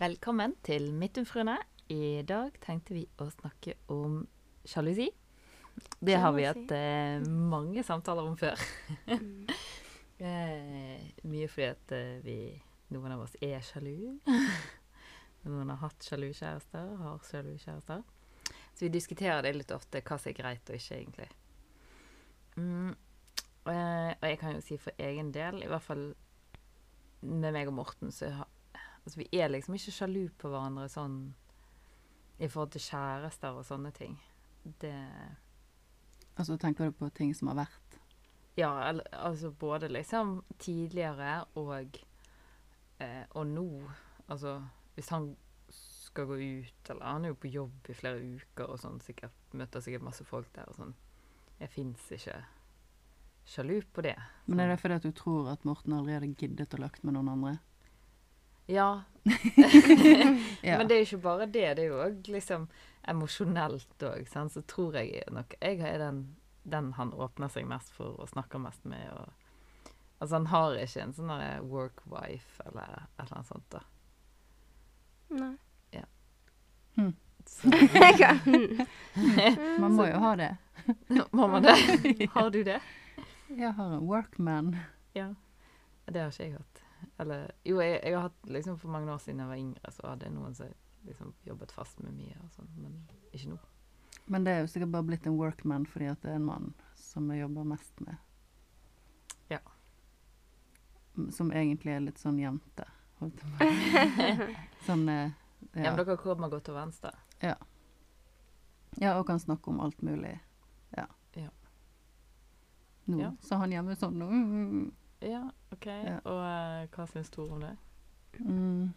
Velkommen til Midtumfruene. I dag tenkte vi å snakke om sjalusi. Det har vi hatt eh, mange samtaler om før. Mm. eh, mye fordi at eh, vi, noen av oss er sjalu. noen har hatt sjalu kjærester, har sjalu kjærester. Så vi diskuterer det litt ofte, hva som er greit og ikke, egentlig. Mm, eh, og jeg kan jo si for egen del, i hvert fall med meg og Morten, så har Altså, vi er liksom ikke sjalu på hverandre sånn i forhold til kjærester og sånne ting. Det Altså tenker du på ting som har vært? Ja, al- altså både liksom tidligere og eh, og nå. Altså hvis han skal gå ut, eller han er jo på jobb i flere uker og sånn, sikkert møter sikkert masse folk der og sånn. Jeg fins ikke sjalu på det. Men er det fordi at du tror at Morten aldri hadde giddet å lagt med noen andre? Ja, Ja. Men det er jo ikke bare det, det er jo òg liksom emosjonelt òg. Så tror jeg nok jeg er den, den han åpner seg mest for og snakker mest med. Og, altså han har ikke en sånn derre work-wife eller et eller annet sånt. da. Nei. Så, Man må jo ha det. mamma, det. Har du det? Jeg har en workman. Ja. Det har ikke jeg hatt. Eller Jo, jeg, jeg har hatt liksom for mange år siden jeg var yngre, så hadde jeg noen som liksom jobbet fast med mye og sånn, men ikke nå. Men det er jo sikkert bare blitt en workman fordi at det er en mann som jeg jobber mest med. Ja. M- Som egentlig er litt sånn jente, holdt jeg på å si. Sånn eh, Ja, ja. men dere kommer godt overens, da. ja, og kan snakke om alt mulig. Ja. Ja. Nå, Ja. så han hjemme sånn nå. Mm, mm, mm. Ja, OK. Ja. Og eh, hva syns Tor om det? Mm.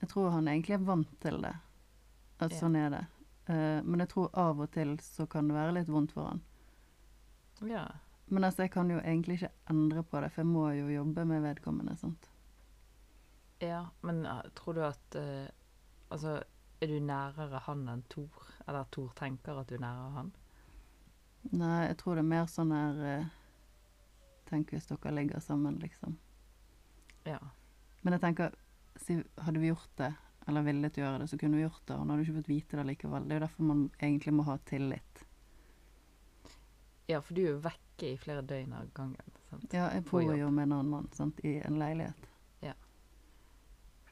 Jeg tror han egentlig er vant til det. At Ja. sånn er det. Eh, men jeg tror av og til så kan det være litt vondt for han. Ja. Men altså, jeg kan jo egentlig ikke endre på det, for jeg må jo jobbe med vedkommende. sant? Ja, men eh, tror du at eh, Altså, er du nærere han enn Thor? Eller at Thor tenker at du er nærere han? Nei, jeg tror det er mer sånn her eh, Tenk hvis dere ligger sammen, liksom. Ja. Men jeg tenker, si, hadde vi gjort det, eller villet gjøre det, så kunne vi gjort det. Han hadde jo ikke fått vite det likevel. Det er jo derfor man egentlig må ha tillit. ja, for du er jo vekke i flere døgn av gangen. sant? Ja, jeg På bor jobb. jo med en annen mann, sant, i en leilighet.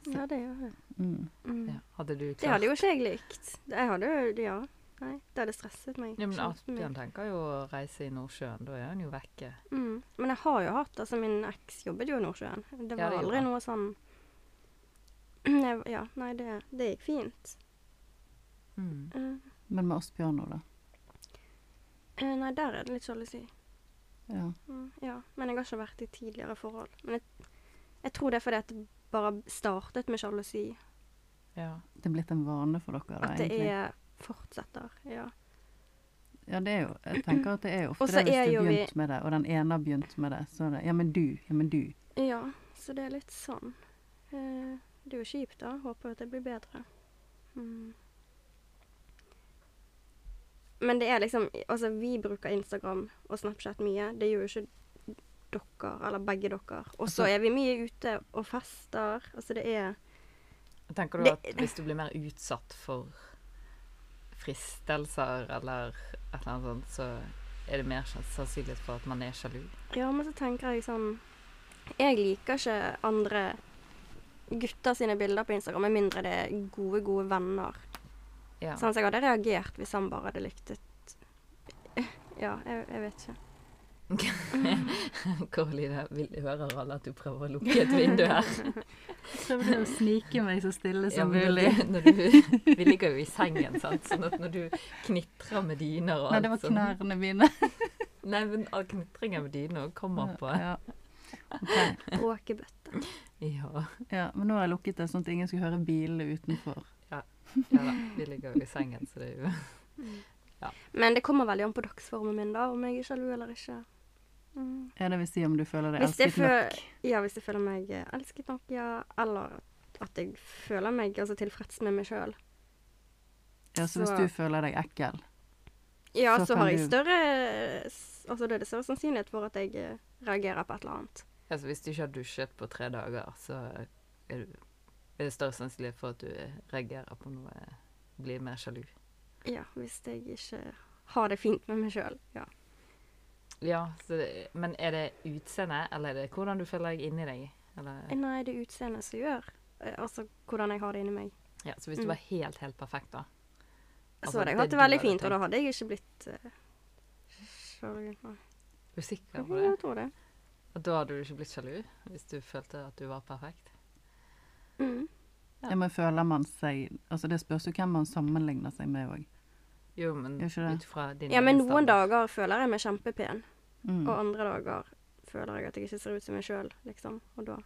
Ja, det gjør jeg. Mm. Mm. Ja. Hadde du klart Det hadde jo ikke jeg likt. Jeg hadde jo Ja. Nei, det hadde stresset meg. ja, men kjempemye. Asbjørn tenker jo å reise i Nordsjøen. Da er han jo vekke. Mm. Men jeg har jo hatt Altså, min eks jobbet jo i Nordsjøen. Det Ja, var det gjorde aldri han. noe sånn Nei, Ja, nei, det, det gikk fint. Mm. Men med Asbjørn nå, da. Eh, Nei, der er det litt sjalusi. Ja. Mm, ja, men jeg har ikke vært i tidligere forhold. Men jeg, jeg tror det er fordi at det bare startet med sjalusi. Ja. Det er blitt en vane for dere, da, At det egentlig. er fortsetter. Ja. Ja, det er jo, jeg tenker at det er jo ofte Og så det hvis er du jo har vi- begynt med det, og den ene har begynt med det, så er det Ja, men du. Ja, men du. ja, så det er litt sånn. Eh, det er jo kjipt, da. Håper jo at det blir bedre. Mm. Men det er liksom Altså, vi bruker Instagram og Snapchat mye. Det gjør jo ikke dere, eller begge dere. Og så Altså- er vi mye ute og fester. Altså, det er Tenker du Det- at hvis du blir mer utsatt for fristelser eller et eller annet sånt, så er det mer sannsynlighet for at man er sjalu? Ja, men så tenker jeg sånn Jeg liker ikke andre gutter sine bilder på Instagram, med mindre det er gode, gode venner. Ja. Sånn, så jeg hadde reagert hvis han bare hadde likt et Ja, jeg, jeg vet ikke. Karoline, vil, hører alle at du prøver å lukke et vindu her? Prøvde å snike meg så stille Ja, men når du, vi ligger jo i sengen, sant? sånn at når du knitrer med dyner og Nei, det var knærne mine. Sånn, nei, men all knitringen med dyner også kommer på Ja. Ok. Bråkebøtte. Ja, ja, men nå har jeg lukket det, sånn at ingen skal høre bilene utenfor. ja da, vi ligger jo i sengen, så det er jo Mm. Men det kommer veldig an på dagsformen min, da, om jeg er sjalu eller ikke. Mm. Ja, det vil si om du føler deg Hvis jeg elsket nok. føler, ja, hvis jeg føler meg eh, elsket nok, ja. Eller at jeg føler meg altså, tilfreds med meg sjøl. Ja, så hvis så- du føler deg ekkel. Ja, Så så, kan har jeg du- større s- Altså, da er det større sannsynlighet for at jeg eh, reagerer på et eller annet. Altså, hvis du ikke har dusjet på tre dager, så er du er det større sannsynlighet for at du reagerer på noe, blir mer sjalu. Ja, hvis jeg ikke har det fint med meg sjøl. Ja. Ja, så det, men er det utseendet, eller er det hvordan du føler deg inni deg? Eller, Nei, det er utseendet som gjør eh, Altså hvordan jeg har det inni meg. ja, så hvis du Mm. var helt, helt perfekt, da? Altså, så hadde jeg det hatt det du veldig hadde fint, og da tenkt. hadde jeg ikke blitt eh, sjalu. Nei. Er du sikker på det? Jeg tror det. Og da hadde du ikke blitt sjalu? Hvis du følte at du var perfekt? Mm. Ja. Ja, men føler man seg Altså, det spørs jo hvem man sammenligner seg med òg. Jo, men Gjør ikke det. ut fra din Ja, men egen noen standard. dager føler jeg meg kjempepen, Mm. og andre dager føler jeg at jeg ikke ser ut som meg sjøl, liksom. Og da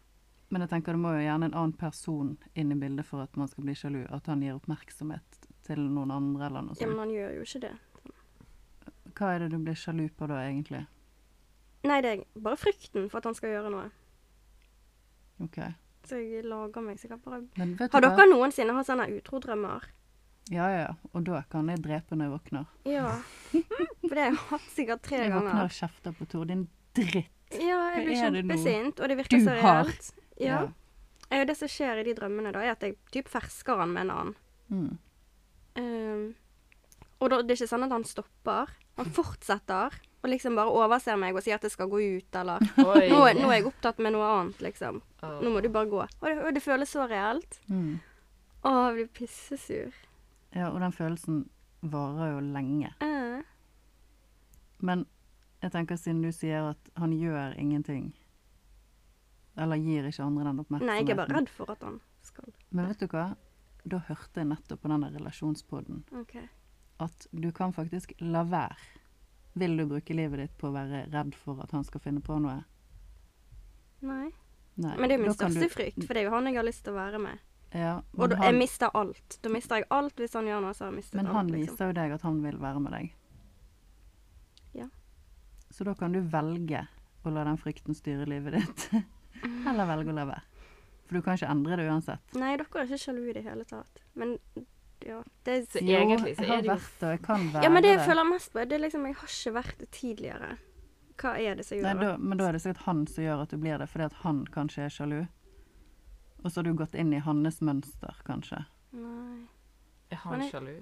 Men jeg tenker det må jo gjerne en annen person inn i bildet for at man skal bli sjalu. At han gir oppmerksomhet til noen andre eller noe Ja, men sånt. han gjør jo ikke det. Hva er det du blir sjalu på da, egentlig? Nei, det er bare frykten for at han skal gjøre noe. Ok. Så jeg lager meg sikkert bare Men vet Har du dere noensinne hatt sånne utrodrømmer? Ja, ja, ja. Og da kan jeg drepe når jeg våkner. Ja. For det har jeg hatt sikkert tre Jeg våkner ganger. og kjefter på Tor. Din dritt. Ja, jeg Hva blir er det nå kjempesint, og det virker du så har? reelt. Ja. Eh, Det som skjer i de drømmene, da, er at jeg typ fersker han med en annen. Mm. Ehm, og da, det er ikke sånn at han stopper. Han fortsetter og liksom bare overser meg og sier at jeg skal gå ut, eller Oi. nå, er- 'Nå er jeg opptatt med noe annet', liksom. Åh. 'Nå må du bare gå'. Og det, og det føles så reelt. Mm. Å, jeg blir pissesur. Ja, og den følelsen varer jo lenge. Eh, Men jeg tenker siden du sier at han gjør ingenting, eller gir ikke andre den oppmerksomheten nei, jeg er bare redd for at han skal Men vet du hva? Da hørte jeg nettopp på den der relasjonspodden OK. at du kan faktisk la være. Vil du bruke livet ditt på å være redd for at han skal finne på noe? Nei. Nei. Men det er min Da kan største du, frykt, for det er jo han jeg har lyst til å være med. ja, Og men da, jeg han, mister alt. Da mister jeg alt hvis han gjør noe, så har jeg mistet men alt. han liksom. viser jo deg at han vil være med deg. Ja. Så da kan du velge å la den frykten styre livet ditt, eller velge å la være. For du kan ikke endre det uansett. Nei, dere er ikke sjalu i det hele tatt. Men ja, det er Så egentlig så jeg er har det jo vært det, og jeg kan være Ja, men det jeg føler mest på, det er liksom Jeg har ikke vært det tidligere. Hva er det som Nei, gjør det? da, men da er det sikkert han som gjør at du blir det, fordi at han kanskje er sjalu. Og så har du gått inn i hans mønster, kanskje. Nei. Er han Men jeg- sjalu?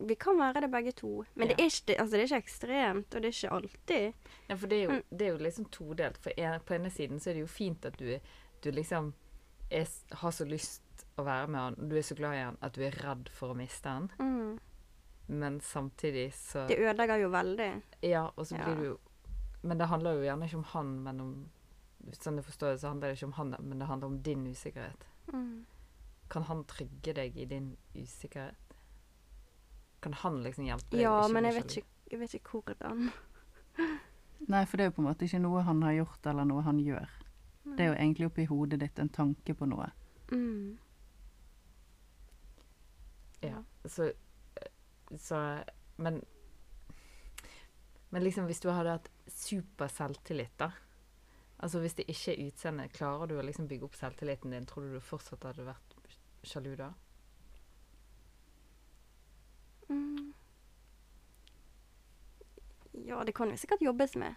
Vi kan være det begge to. Men det, Ja. er ikke, altså, det er ikke ekstremt, og det er ikke alltid. Ja, for det er jo, Men- det er jo liksom todelt. For en, på ene siden så er det jo fint at du, er- du liksom er, s- har så lyst å være med han, og du er så glad i han at du er redd for å miste han, men samtidig så Det ødelegger jo veldig. Ja, og så blir Ja. du jo Men det handler jo gjerne ikke om han, men om Sånn jeg forstår det, så handler det ikke om han, men det handler om din usikkerhet. Kan han trygge deg i din usikkerhet? Kan han liksom hjelpe deg? å Ja, ikke men bli jeg vet sjalu? ikke, jeg vet ikke hvordan. Nei, for det er jo på en måte ikke noe han har gjort, eller noe han gjør. Det er jo egentlig oppi hodet ditt en tanke på noe. Mm. Ja, så, eh, så Men Men liksom hvis du hadde hatt super selvtillit, da Altså hvis det ikke er utseende, klarer du å liksom bygge opp selvtilliten din? Tror du du fortsatt hadde vært sjalu da? Mm. Ja, det kan jo sikkert jobbes med.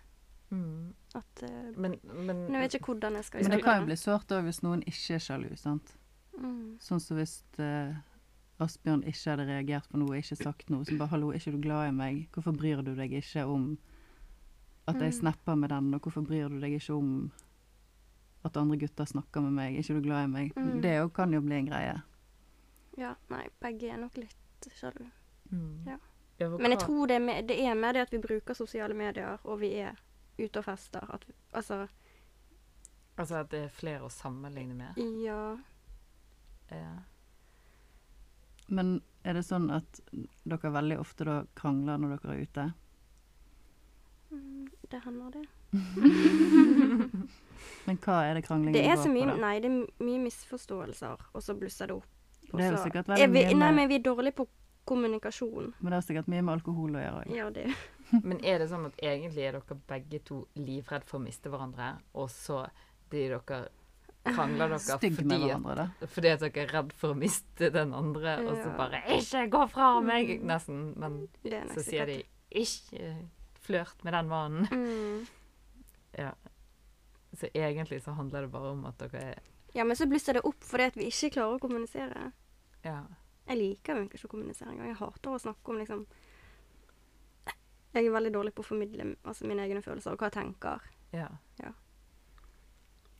At, eh, Men, men, men jeg vet ikke hvordan jeg skal Men det gjøre kan jo bli sårt òg hvis noen ikke er sjalu, sant. Mm. Sånn som hvis eh, Asbjørn ikke hadde reagert på noe, ikke sagt noe, så bare 'hallo, er ikke du glad i meg', hvorfor bryr du deg ikke om at jeg Mm. snapper med den, og hvorfor bryr du deg ikke om at andre gutter snakker med meg, er ikke du glad i meg? Mm. Det jo kan jo bli en greie. Ja, nei, begge er nok litt sjalu. Mm. Ja. for Men jeg hva- tror det er, mer, det er mer det at vi bruker sosiale medier, og vi er ute og fester. At, vi- altså, Altså at det er flere å sammenligne med. ja Ja. Men er det sånn at dere veldig ofte da krangler når dere er ute? mm, Det hender, det. Men hva er det kranglingen Det er så går mye på, da? Nei, det er mye misforståelser, og så blusser det opp. og Det er jo så- sikkert er veldig vi, mye altså, Nei, med, men vi er dårlige på kommunikasjon. men det har sikkert mye med alkohol å gjøre òg. Ja, det Men er det sånn at egentlig er dere begge to livredd for å miste hverandre, og så blir dere krangler dere Stygg med fordi at hverandre, da. Fordi at dere er redd for å miste den andre, og så Ja. bare 'Ikke gå fra meg!' nesten. Men Det er nok så sier de sikkert. 'Ikke flørt med den mannen'. mm, Så egentlig så handler det bare om at dere er Ja, men så blusser det opp fordi at vi ikke klarer å kommunisere. Ja. Jeg liker jo ikke å kommunisere engang. Jeg hater å snakke om liksom Jeg er veldig dårlig på å formidle altså, mine egne følelser og hva jeg tenker. ja.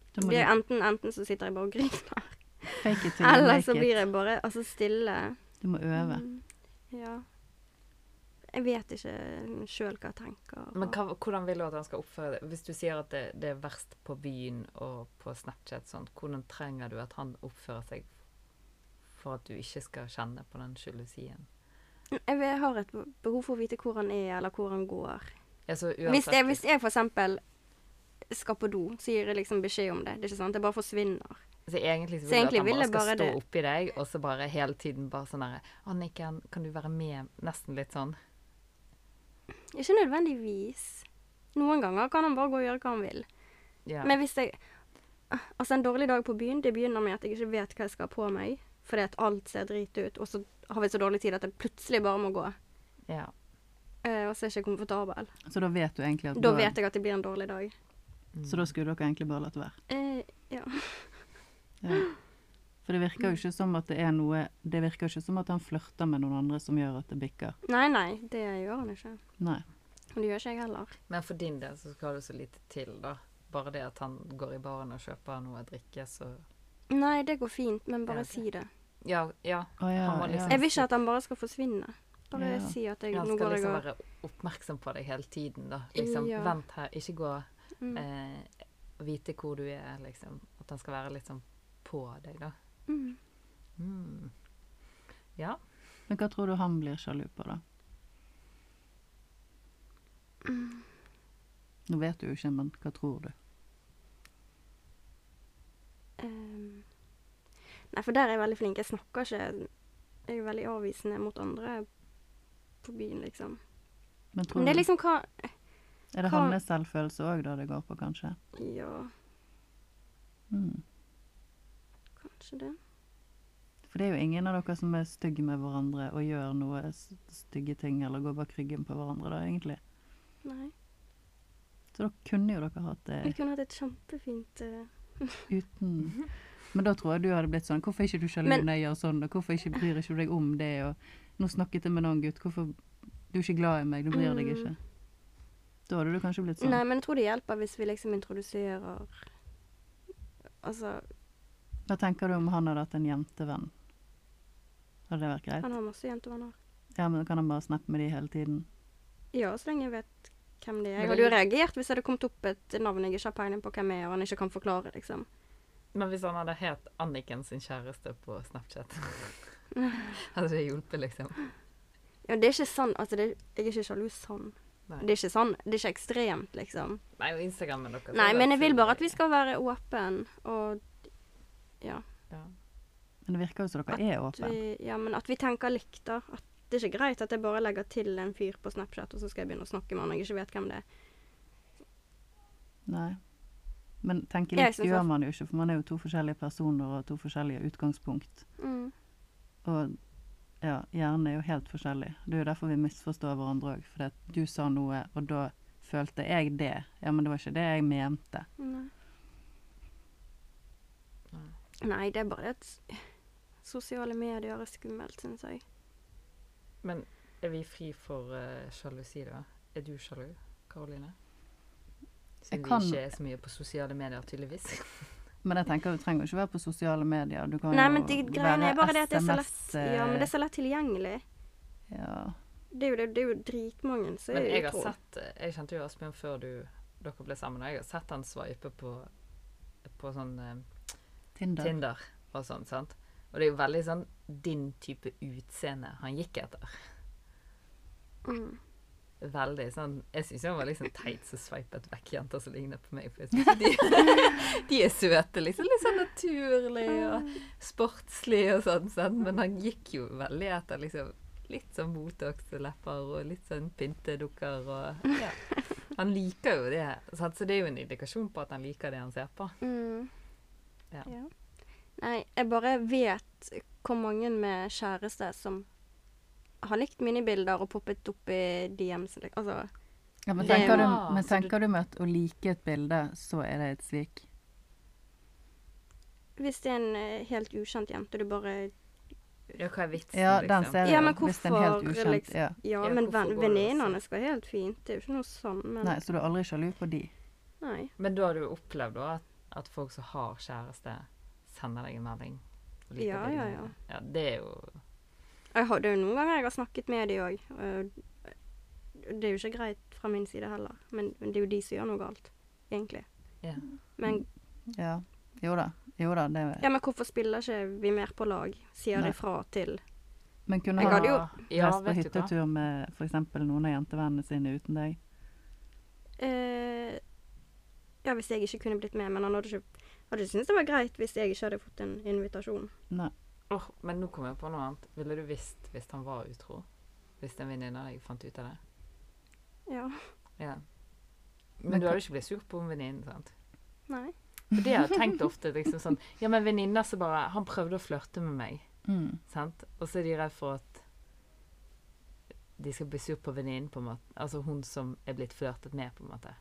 Da må Det er du enten, enten så sitter jeg bare og griner, fake it till you eller så make blir it. jeg bare altså, stille. Du må øve. Mm, Ja. Jeg vet ikke sjøl hva jeg tenker. og- Men hva, hvordan vil du at han skal oppføre det? Hvis du sier at det, det er verst på byen og på Snapchat, sånn, hvordan trenger du at han oppfører seg for at du ikke skal kjenne på den sjalusien? Mm, Jeg vil- har et behov for å vite hvor han er, eller hvor han går. Altså, Hvis uansett, jeg, hvis jeg for eksempel skal på do, så gir jeg liksom beskjed om det. Det er ikke sant? Det bare forsvinner. så Altså, egentlig så så vil egentlig du vil at jeg han bare bare skal stå det. oppi deg, og så bare hele tiden bare sånn derre 'Anniken, kan du være med?' Nesten litt sånn. Ikke nødvendigvis. Noen ganger kan han bare gå og gjøre hva han vil. Ja. Men hvis jeg Altså, en dårlig dag på byen, det begynner med at jeg ikke vet hva jeg skal ha på meg, fordi at alt ser drit ut, og så har vi så dårlig tid at jeg plutselig bare må gå. ja. Eh, Og så er jeg ikke komfortabel. Så da vet du egentlig at Da vet jeg at det blir en dårlig dag. Mm. Så da skulle dere egentlig bare latt være. Eh, ja. Ja. For det virker jo ikke som at det er noe Det virker jo ikke som at han flørter med noen andre som gjør at det bikker. Nei, nei, det gjør han ikke. Nei. Og det gjør ikke jeg heller. Men for din del så skal det så lite til, da. Bare det at han går i baren og kjøper noe å drikke, så Nei, det går fint, men bare Ja, ok. si det. Ja, ja. Å ja, Han var ja. liksom- Jeg vil ikke at han bare skal forsvinne. Bare Ja. si at jeg, Han nå skal går jeg liksom og være oppmerksom på deg hele tiden, da. Liksom, Ja. vent her, ikke gå. Mm. Eh, vite hvor du er, liksom. At han skal være litt sånn på deg, da. mm. Mm. Ja. Men hva tror du han blir sjalu på, da? Mm. Nå vet du jo ikke, men hva tror du? Ehm. Nei, for der er jeg veldig flink. Jeg snakker ikke Jeg er veldig avvisende mot andre på byen, liksom. Men tror Men det er du- liksom hva Er det Hva- hans selvfølelse òg da det går på, kanskje? Ja, Mm. kanskje det. For det er jo ingen av dere som er stygge med hverandre og gjør noe s- stygge ting eller går bak ryggen på hverandre, da, egentlig. Nei. Så da kunne jo dere hatt Vi det kunne hatt et kjempefint eh, uten Men da tror jeg du hadde blitt sånn Hvorfor er ikke du sjalu Men- når jeg gjør sånn, og hvorfor ikke bryr ikke du deg om det, og Nå snakket jeg med noen gutt, hvorfor Du er ikke glad i meg, du bryr deg Mm. ikke. Da hadde du kanskje blitt sånn. Nei, men jeg tror det hjelper hvis vi liksom introduserer Altså, Hva tenker du om han hadde hatt en jentevenn? Hadde det vært greit? han har masse jentevenner. Ja, men Kan han bare snappe med de hele tiden? Ja, så lenge jeg vet hvem det er. Men Jeg det hadde jo er reagert hvis det hadde kommet opp et navn jeg ikke har peiling på hvem er, og han ikke kan forklare, liksom. Men hvis han hadde het Anniken sin kjæreste på Snapchat, hadde det hjulpet, liksom? Ja, det er ikke sånn, altså, det, jeg er ikke sjalu sånn. Nei. Det er ikke sånn, det er ikke ekstremt, liksom. Nei, og Instagrammen deres Nei, er men jeg vil full- bare at vi skal være åpen, og ja. Men det virker jo som dere er at åpne. vi, ja, men at vi tenker likt, da. At det er ikke greit at jeg bare legger til en fyr på Snapchat, og så skal jeg begynne å snakke med han, og jeg ikke vet hvem det er. Nei. Men tenke Jeg likt synes gjør at- man jo ikke, for man er jo to forskjellige personer og to forskjellige utgangspunkt. Mm. Og ja, hjernen er jo helt forskjellig. Det er jo derfor vi misforstår hverandre òg. Fordi at du sa noe, og da følte jeg det. Ja, men det var ikke det jeg mente. Nei. Nei. Nei, det er bare det at s- sosiale medier er skummelt, syns jeg. Men er vi fri for eh, sjalusi, da? Er du sjalu, Karoline? Siden kan- vi ikke er så mye på sosiale medier, tydeligvis. Men jeg tenker du trenger jo ikke være på sosiale medier. Du kan Nei, jo men det, greien er bare det at det er så lett, SMS, ja, men det er så lett tilgjengelig. eh, ja. Det er jo, det, det er jo dritmange som Men er jeg har utro. sett eh, Jeg kjente jo Asbjørn før du, dere ble sammen, og jeg har sett han sveipe på, på sånn eh, Tinder. Tinder og sånn, sant. Og det er jo veldig sånn din type utseende han gikk etter. Mm. Veldig sånn Jeg syns han var liksom teit som sveipet vekk jenter som ligner på meg. For jeg synes de, de er søte, liksom. Litt sånn naturlig og sportslig og sånn, sant. Men han gikk jo veldig etter liksom litt sånn Botox-lepper og litt sånn pyntedukker og ja. Han liker jo det, sant? så det er jo en indikasjon på at han liker det han ser på. Mm. Ja. Nei, jeg bare vet hvor mange med kjæreste som har likt mine bilder og poppet opp i DMs. eller- Altså, Ja, men Det er jo- tenker, du, men Så du- tenker du med at å like et bilde, så er det et svik? Hvis det er en eh, helt ukjent jente du bare Ja, hva er vitsen, liksom? Ja, den ser jeg. Ja, men Hvis den er helt hvorfor, ukjent. liksom? Ja. Ja, Ja, men hvorfor ven- går det venninnene skal være helt fint. Det er jo ikke noe sånn, men Nei, så du er aldri sjalu på de? nei. Men da har du jo opplevd da at, at folk som har kjæreste, sender deg en melding. og liker Ja, ja, bildene ja. dine. ja. Det er jo Jeg har, det er jo noen ganger jeg har snakket med de òg. Det er jo ikke greit fra min side heller, men, men det er jo de som gjør noe galt, egentlig. Ja. Mm. Men, Ja. Jo da. Jo da, det ja, men hvorfor spiller ikke vi mer på lag? Sier Nei. ifra til Men kunne Jeg han hadde jo- ja, reist på vet du hva? hyttetur med f.eks. noen av jentevennene sine uten deg? eh, Ja, hvis jeg ikke kunne blitt med, men han hadde ikke, hadde ikke syntes det var greit hvis jeg ikke hadde fått en invitasjon. Nei. Åh, men nå kom jeg på noe annet. Ville du visst hvis han var utro? Hvis en venninne av deg fant ut av det? Ja. Ja. Men, Men du hva- hadde ikke blitt sur på venninnen, sant? Nei. For det har jeg tenkt ofte. liksom sånn, Ja, men venninner som bare Han prøvde å flørte med meg, Mm. sant? Og så er de redd for at de skal bli sur på venninnen, på en måte. Altså hun som er blitt flørtet med, på en måte.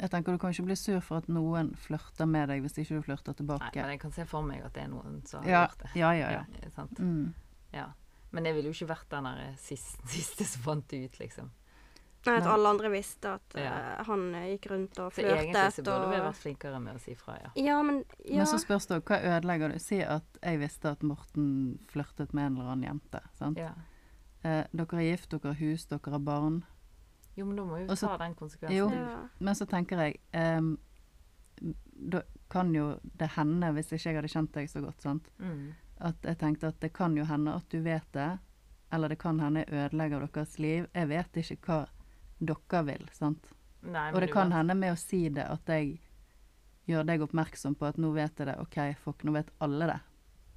Jeg tenker Du kan ikke bli sur for at noen flørter med deg hvis ikke du flørter Nei, tilbake. men jeg kan se for meg at det er noen som har ja, gjort det. ja, ja, ja. Ja, sant? Mm. Ja. Men jeg ville jo ikke vært den der siste, siste som fant det ut, liksom. Nei, at Nei. alle andre visste at Ja. eh, han eh, gikk rundt og Så egentlig så flørtet burde vi og vært flinkere med å si fra, ja. Ja, men ja. Men så spørs det også, hva ødelegger du? Si at jeg visste at Morten flørtet med en eller annen jente. sant? ja. Eh, dere er gift, dere har hus, dere har barn. Jo, men da må jo Og så- ta den konsekvensen. Jo. du. ja. Men så tenker jeg ehm, Da kan jo det hende, hvis ikke jeg hadde kjent deg så godt, sant? Mm. at jeg tenkte at det kan jo hende at du vet det, eller det kan hende jeg ødelegger deres liv. Jeg vet ikke hva dere vil, sant. Nei, Og men det kan uansett- hende med å si det at jeg gjør deg oppmerksom på at nå vet jeg det, OK, fuck, nå vet alle det.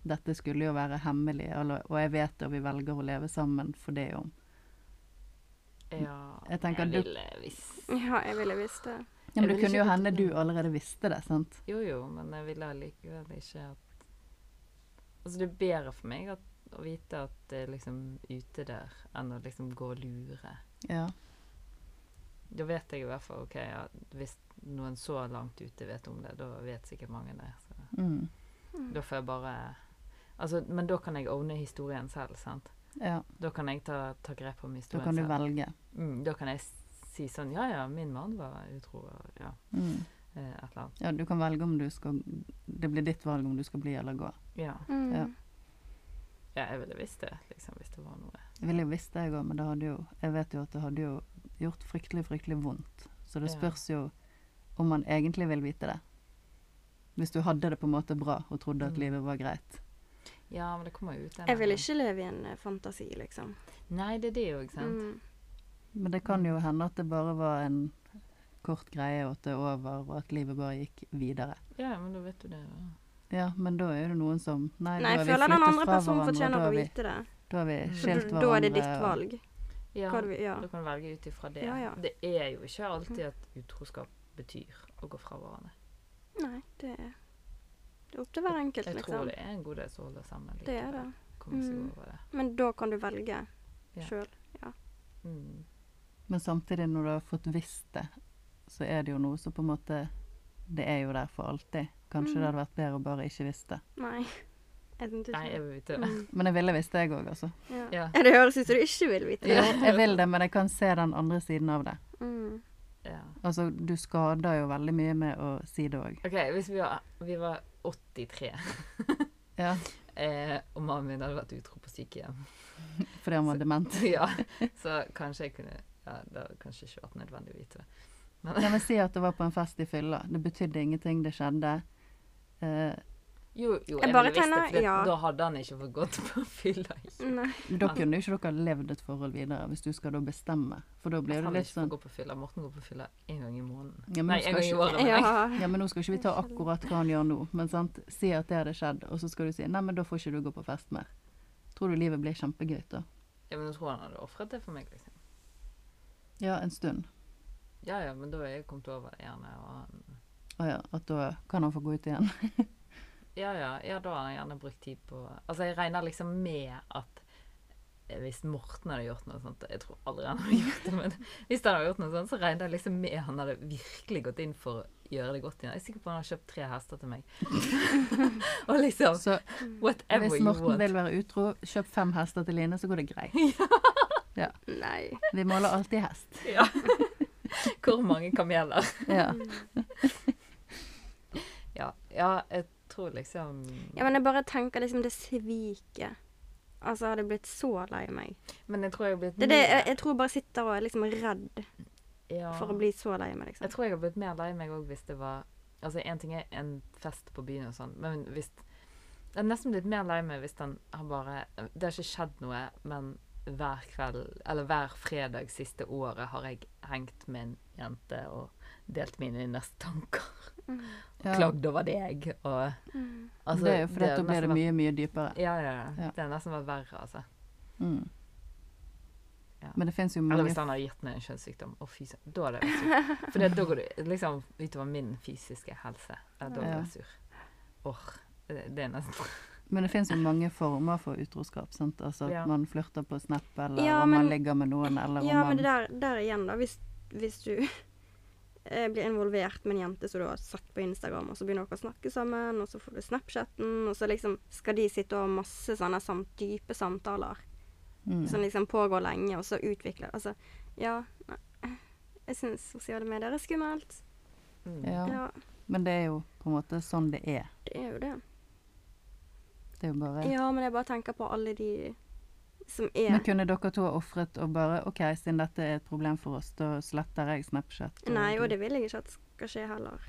Dette skulle jo være hemmelig, eller, og jeg vet det, og vi velger å leve sammen for det om. Ja, Jeg tenker du- ville visst ja, jeg ville visst det. Ja, Jeg men det vil kunne ikke jo hende vite du det. allerede visste det, sant. Jo, jo, men jeg ville allikevel ikke at Altså, det er bedre for meg at, å vite at det er liksom ute der, enn å liksom gå og lure. Ja. Da vet jeg i hvert fall OK, ja, hvis noen så langt ute vet om det, da vet sikkert mange det. Så. Mm. Da får jeg bare Altså, men da kan jeg owne historien selv, sant? ja. Da kan jeg ta, ta grep om Da historien kan du selv. velge. Mm, da kan jeg s- si sånn Ja, ja, min mann var utro, og ja, Mm. eh, et eller annet. Ja, du kan velge om du skal Det blir ditt valg om du skal bli eller gå. Ja. Mm. Ja. ja, jeg ville visst det, liksom, hvis det var noe. Jeg ville jo visst det, jeg òg, men det hadde jo, jeg vet jo at det hadde jo gjort fryktelig, fryktelig vondt. Så det Ja. spørs jo om man egentlig vil vite det. Hvis du hadde det på en måte bra og trodde at Mm. livet var greit. Ja, men det kommer jo ut en Jeg vil eller ikke leve i en eh, fantasi, liksom. annen. Nei, det er det jo, ikke sant. Mm. Men det kan jo hende at det bare var en kort greie, og at det er over, og at livet bare gikk videre. Ja, men da vet du det. Da. Ja, men da er det noen som Nei, Nei, da jeg har vi føler den flyttet andre fra personen hverandre, og fortjener da å har vi, vite det. da har vi Mm. Så skilt da- hverandre. Da er det ditt og- valg. Ja, Hva du, ja. da kan du velge ut ifra det. Ja, ja. Mm. Det er jo ikke alltid at utroskap betyr å gå fra hverandre. Nei, det er, det er opp til hver enkelt, Jeg tror liksom. det er en god del som holder sammen. Det er det. likevel. Kommer seg Mm. over det. Men da kan du velge Ja. sjøl. Mm. Men samtidig, når du har fått visst det, så er det jo noe som på en måte Det er jo der for alltid. Kanskje Mm. det hadde vært bedre å bare ikke visst det. Nei. Jeg syns ikke Nei, jeg det. vil vite det. Mm, Men jeg ville visst det, jeg òg, altså. ja. Ja. Ja, Det høres ut som du ikke vil vite det. Ja. Jeg vil det, men jeg kan se den andre siden av det. Mm. Ja. Altså, du skader jo veldig mye med å si det òg. OK, hvis vi var, vi var 83, Ja, eh, og mannen min hadde vært utro på sykehjem, fordi han var dement. ja, så kanskje jeg kunne ja, Det hadde kanskje ikke vært nødvendig å vite det. Jeg vil si at det var på en fest i fylla. Det betydde ingenting, det skjedde. Eh, Jo, jo, Jeg jeg, ville bare visst det, tenner- for det- ja. da hadde han ikke fått gått på fylla. Nei. da kunne jo ikke dere levd et forhold videre, hvis du skal da bestemme. For da blir Han det vil litt ikke få sånn gå på fylla. Morten går på fylla én gang i måneden. Ja, men Nei, nå én gang skal i ikke- året. mener jeg. Ja. Ja, men nå skal ikke vi ta akkurat hva han gjør nå, men sant? si at det hadde skjedd, og så skal du si nei, men da får ikke du gå på fest mer. Tror du livet blir kjempegøy da? Ja, men jeg tror han hadde ofret det for meg, liksom. Ja, en stund. Ja ja, men da er jeg kommet over det gjerne. Og han Å ja, at da kan han få gå ut igjen. Ja ja, ja da har han gjerne brukt tid på Altså, jeg regner liksom med at eh, hvis Morten hadde gjort noe sånt Jeg tror aldri han hadde gjort det, men hvis han hadde gjort noe sånt, så regner jeg liksom med han hadde virkelig gått inn for gjøre det godt igjen. Jeg er sikker på han har kjøpt tre hester til meg. og liksom Så Whatever hvis you Morten want. vil være utro, kjøp fem hester til Line, så går det greit. Nei. Vi måler alltid hest. Ja. Hvor mange kameler? Ja. Ja, ja jeg tror liksom Ja, men jeg bare tenker liksom det sviket. Altså, jeg hadde blitt så lei meg. Men jeg tror jeg har blitt Det er det jeg, mer- jeg tror jeg bare sitter og er liksom redd ja. for å bli så lei meg, Jeg liksom. tror jeg har blitt mer lei meg òg hvis det var Altså, én ting er en fest på byen og sånn, men hvis Jeg er nesten blitt mer lei meg hvis den har bare Det har ikke skjedd noe, men hver kveld, eller hver fredag siste året har jeg hengt med en jente og delt mine innerste tanker. Ja. Klagd over deg og Mm. altså, det er jo fordi at har da blir det nesten vært- mye, mye dypere. Ja, ja, ja. Ja. Det har nesten vært verre, altså. Mm. Ja. Men det fins jo Eller mange hvis han hadde gitt meg en kjønnssykdom. Å, fy søren. Da hadde jeg vært sur. For det- da går det liksom utover min fysiske helse. Ja, Da blir Ja. jeg sur. Orr. Det det er nesten Men det finnes jo mange former for utroskap. sant? Altså At Ja. man flirter på Snap, eller Ja, om men- man ligger med noen, eller Ja, men om man det der, der igjen, da. Hvis, hvis du eh, blir involvert med en jente som du har sett på Instagram, og så begynner dere å snakke sammen, og så får du Snapchatten, og så liksom skal de sitte og ha masse sånne samt, dype samtaler mm. som liksom pågår lenge, og så utvikler Altså, ja nei. Jeg syns sosiale medier er skummelt. mm. ja. Ja, Men det er jo på en måte sånn det er. det er jo det. Det er jo bare Ja, men jeg bare tenker på alle de som er Men kunne dere to ha ofret og bare OK, siden dette er et problem for oss, da sletter jeg Snapchat? Nei, og du- det vil jeg ikke at skal skje heller.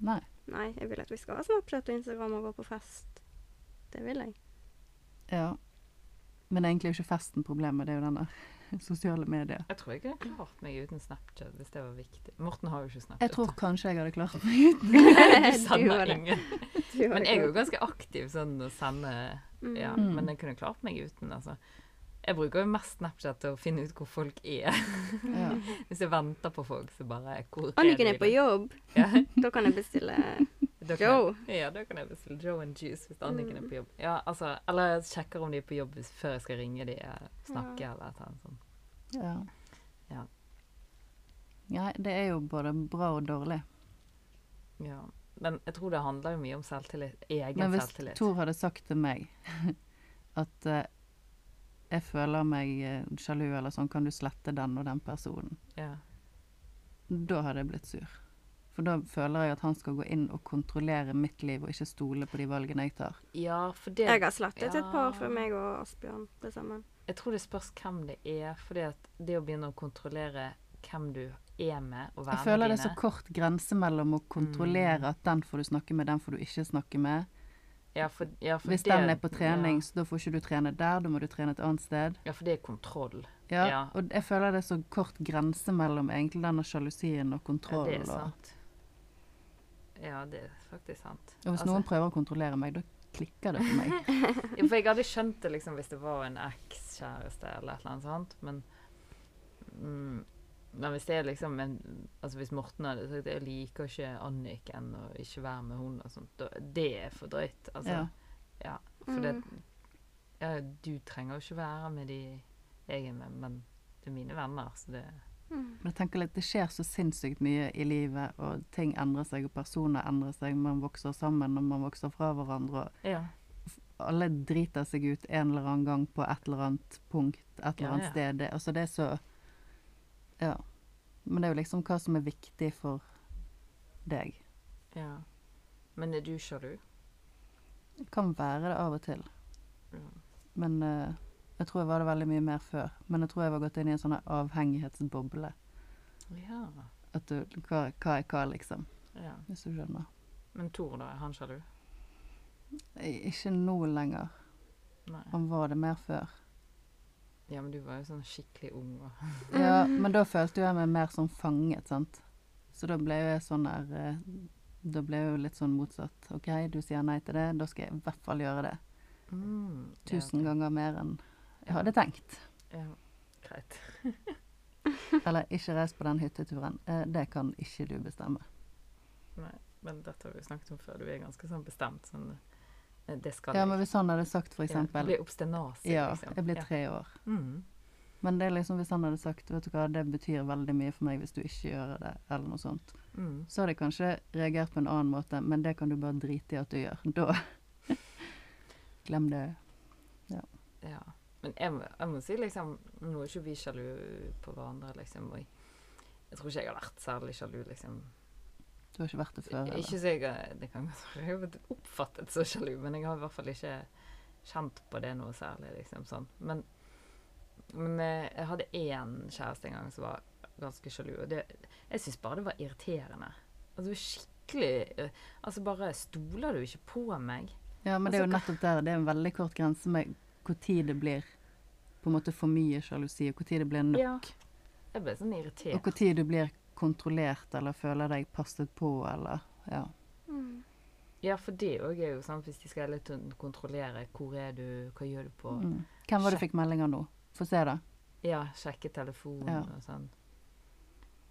Nei. Nei, jeg vil at vi skal ha Snapchat og Instagram og gå på fest. Det vil jeg. Ja. Men egentlig er jo ikke festen problemet, det er jo denne sosiale medier. Jeg tror jeg kunne klart meg uten Snapchat hvis det var viktig. Morten har jo ikke Snapchat. Jeg tror kanskje jeg hadde klart meg uten. du Du sender har det. ingen. Men jeg er jo ganske aktiv sånn å sende Ja, Mm. men jeg kunne klart meg uten, altså. Jeg bruker jo mest Snapchat til å finne ut hvor folk er. Ja. Hvis jeg venter på folk, så bare Hvor er Anniken de er på i dag? jobb. Ja. Da kan jeg bestille Da kan Joe. Jeg, ja, da kan jeg bestille Joe and Juice hvis Anniken Mm. er på jobb. Ja, altså, eller jeg sjekker om de er på jobb hvis- før jeg skal ringe de eh, snakke eller et eller annet sånt. Ja. Ja. Nei, det er jo både bra og dårlig. Ja. Men jeg tror det handler jo mye om selvtillit. Egen Men hvis selvtillit. Tor hadde sagt til meg at eh, jeg føler meg eh, sjalu eller sånn, kan du slette den og den personen? Ja. Da hadde jeg blitt sur. For da føler jeg at han skal gå inn og kontrollere mitt liv og ikke stole på de valgene jeg tar. ja, for det Jeg har slettet et par Ja. for meg og Asbjørn til sammen. Jeg tror det spørs hvem det er. fordi at det å begynne å kontrollere hvem du er med, og Jeg vennene føler det dine Mm. er så kort grense mellom å kontrollere at den får du snakke med, den får du ikke snakke med. ja, for, ja, for Hvis det- den er på trening, Ja, så da får ikke du trene der, da må du trene et annet sted. ja for det er kontroll. Ja, Ja. Og jeg føler det er så kort grense mellom egentlig denne sjalusien og Ja, kontroll. det er og- sant. Ja, det er faktisk sant. Og hvis Altså- noen prøver å kontrollere meg, da klikker det for meg. Ja, for jeg hadde skjønt det liksom hvis det var en ekskjæreste eller et eller annet sånt, men mm, Men hvis det er liksom en Altså hvis Morten hadde sagt 'jeg liker ikke Anniken og ikke være med hun' og sånt, da Det er for drøyt. Altså. Ja. For det ja, Du trenger jo ikke være med de jeg er med, men det er mine venner, så det Mm, Men jeg tenker litt, Det skjer så sinnssykt mye i livet, og ting endrer seg, og personer endrer seg. Man vokser sammen, og man vokser fra hverandre. og Ja. Alle driter seg ut en eller annen gang på et eller annet punkt, et eller Ja, annet ja. sted. Det, altså, det er så Ja. Men det er jo liksom hva som er viktig for deg. ja. Men er du sjalu? Det kan være det av og til. Ja. Men eh, jeg tror jeg var det veldig mye mer før. Men jeg tror jeg var gått inn i en sånn her avhengighetsboble. Ja. At du, hva, hva er hva, liksom. ja. Hvis du skjønner. Men Tor, da? Er han sjalu? I- Ikke nå lenger. Nei. Han var det mer før. Ja, men du var jo sånn skikkelig ung og Ja, men da følte jo jeg meg mer sånn fanget, sant. Så da ble jo jeg sånn der eh, Da ble jeg jo litt sånn motsatt. OK, du sier nei til det, da skal jeg i hvert fall gjøre det. mm, Tusen ja, ok. ganger mer enn jeg hadde tenkt. Ja, greit. Eller ikke reis på den hytteturen. Eh, Det kan ikke du bestemme. Nei, men dette har vi jo snakket om før. Du er ganske sånn bestemt sånn eh, Det skal Ja, jeg. men hvis han hadde sagt for Ja, du eksempel blir obsternasig, Ja, liksom. jeg blir tre år. Mm. Men det er liksom hvis han hadde sagt vet du hva, det betyr veldig mye for meg hvis du ikke gjør det, eller noe sånt, Mm. så hadde jeg kanskje reagert på en annen måte, men det kan du bare drite i at du gjør. Da Glem det. Ja. Men jeg må, jeg må si liksom Nå er ikke vi sjalu på hverandre, liksom. Og jeg, jeg tror ikke jeg har vært særlig sjalu, liksom. Du har ikke vært det før. eller? Ikke så jeg har- Det kan godt være jeg har blitt oppfattet så sjalu, men jeg har i hvert fall ikke kjent på det noe særlig, liksom sånn. Men, men eh, jeg hadde én kjæreste en gang som var ganske sjalu, og det Jeg syns bare det var irriterende. Altså skikkelig eh, Altså bare Stoler du ikke på meg? Ja, men det er jo Altså, nettopp der. Det er en veldig kort grense med når det blir på en måte for mye sjalusi, og når det blir nok. Ja. Jeg ble sånn irritert. Og når du blir kontrollert eller føler deg passet på eller Ja. Mm. Ja, for det òg er jo sant, hvis de skal hele tiden kontrollere hvor er du, hva gjør du på Mm. Hvem var det du fikk melding av nå? Få se, da. Ja, sjekke telefonen Ja. og sånn.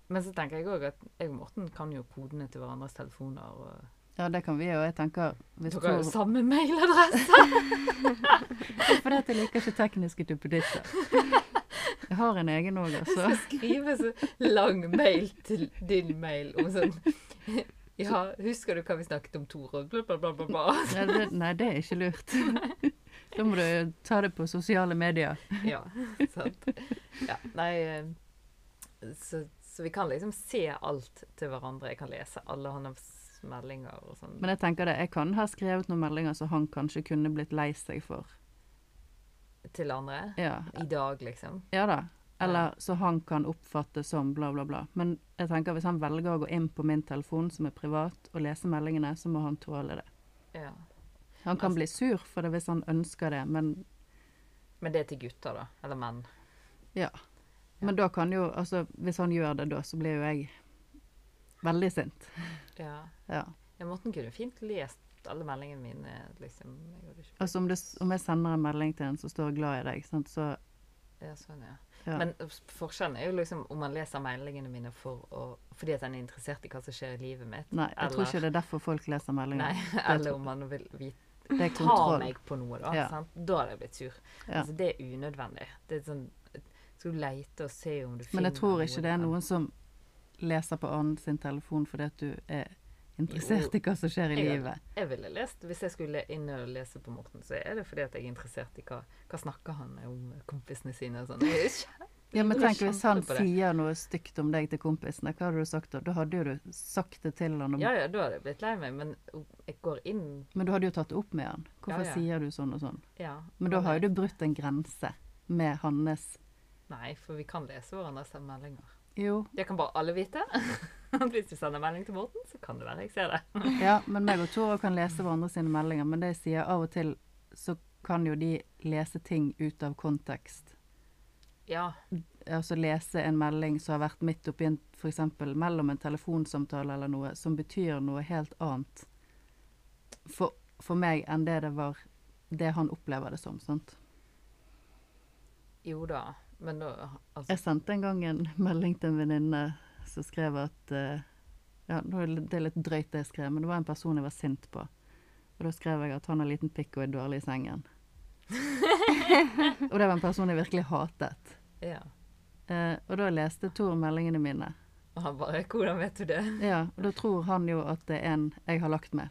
Men så tenker jeg òg at jeg og Morten kan jo kodene til hverandres telefoner. og Ja, det kan vi jo. Jeg tenker hvis Dere har jo Tor- samme mailadresse! For dette liker ikke tekniske duppedisser. Jeg har en egen òg, altså. Så skrive så lang mail til din mail om sånn Ja, husker du hva vi snakket om, Tore? Bla, bla, bla, bla, bla. Nei det, nei, det er ikke lurt. Da må du ta det på sosiale medier. Ja, sant. Ja, nei eh, så, så vi kan liksom se alt til hverandre. Jeg kan lese alle hans meldinger og sånn. Men jeg tenker det, jeg kan ha skrevet noen meldinger som han kanskje kunne blitt lei seg for. til andre Ja, i dag, liksom. Ja da. Eller så han kan oppfatte som bla, bla, bla. Men jeg tenker hvis han velger å gå inn på min telefon, som er privat, og lese meldingene, så må han tåle det. Ja. Han kan bli sur for det hvis han ønsker det, men, Men det er til gutter, da. Eller menn. men da kan jo Altså, hvis han gjør det da, så blir jo jeg veldig sint. Ja. Ja. ja Morten kunne fint lest alle meldingene mine, liksom. Jeg hadde ikke... Altså om, det, om jeg sender en melding til en som står glad i deg, sant, så ja, sånn, ja. Ja. Men s- forskjellen er jo liksom om man leser meldingene mine for å, fordi at han er interessert i hva som skjer i livet mitt. Nei, jeg tror Eller- ikke det er derfor folk leser Nei, meldinger. eller om man vil vite Det er Ta kontroll. meg på noe, da. Ja. Sant? Da hadde jeg blitt sur. Ja. Altså, det er unødvendig. Det er sånn Skal du leite og se om du finner Men jeg tror ikke det er men- noen som leser på annen sin telefon fordi at du er interessert i hva som skjer i Jeg er- livet. Jeg ville lest, Hvis jeg skulle inn og lese på Morten, så er det fordi at jeg er interessert i hva, hva snakker han om kompisene sine og sånn. Jeg er ikke- Ja, men Jeg tenk hvis han kjente på det. sier noe stygt om deg til kompisene, hva hadde du sagt da? Da hadde jo du sagt det til han, om, Ja ja, da hadde jeg blitt lei meg, men jeg går inn men du hadde jo tatt det opp med han. Hvorfor Ja, ja. sier du sånn og sånn? ja. Men da og har det- jo du brutt en grense med hans Nei, for vi kan lese hverandres meldinger. Jo, Det kan bare alle vite. Hvis du sender melding til Morten, så kan det være jeg ser det. ja, men meg og Tora kan lese hverandre sine meldinger, men det jeg sier av og til, så kan jo de lese ting ut av kontekst. Ja. altså lese en melding som har vært midt oppi en f.eks. mellom en telefonsamtale eller noe, som betyr noe helt annet for, for meg enn det det var det han opplever det som. sant? Jo da. Men da altså, Jeg sendte en gang en melding til en venninne som skrev at eh, ja, nå er Det det er litt drøyt det jeg skrev, men det var en person jeg var sint på. Og da skrev jeg at han har liten pikk og er dårlig i sengen. og det var en person jeg virkelig hatet. Ja. Eh, og da leste Tor meldingene mine. Og han bare 'Hvordan vet du det?' Ja, og da tror han jo at det er en jeg har lagt med.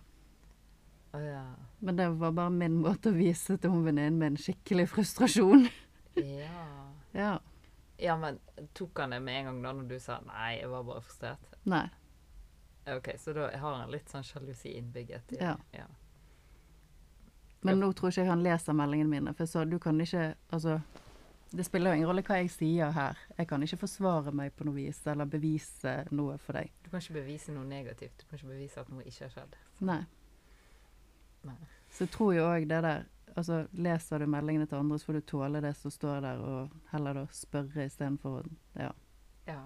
Å ja. Men det var bare min måte å vise til hun venninnen min skikkelig frustrasjon. ja. Ja. Ja, men tok han det med en gang da når du sa 'nei, jeg var bare frustrert'? Nei. Ok, så da har han litt sånn sjalusi innbygget. i- Ja. ja. Men nå tror ikke jeg han leser meldingene mine, for jeg sa du kan ikke Altså, det spiller jo ingen rolle hva jeg sier her. Jeg kan ikke forsvare meg på noe vis eller bevise noe for deg. Du kan ikke bevise noe negativt. Du kan ikke bevise at noe ikke har skjedd. Nei. Nei. Så jeg tror jo òg det der Altså, leser du meldingene til andre, så får du tåle det som står der, og heller da spørre istedenfor å ja, Ja,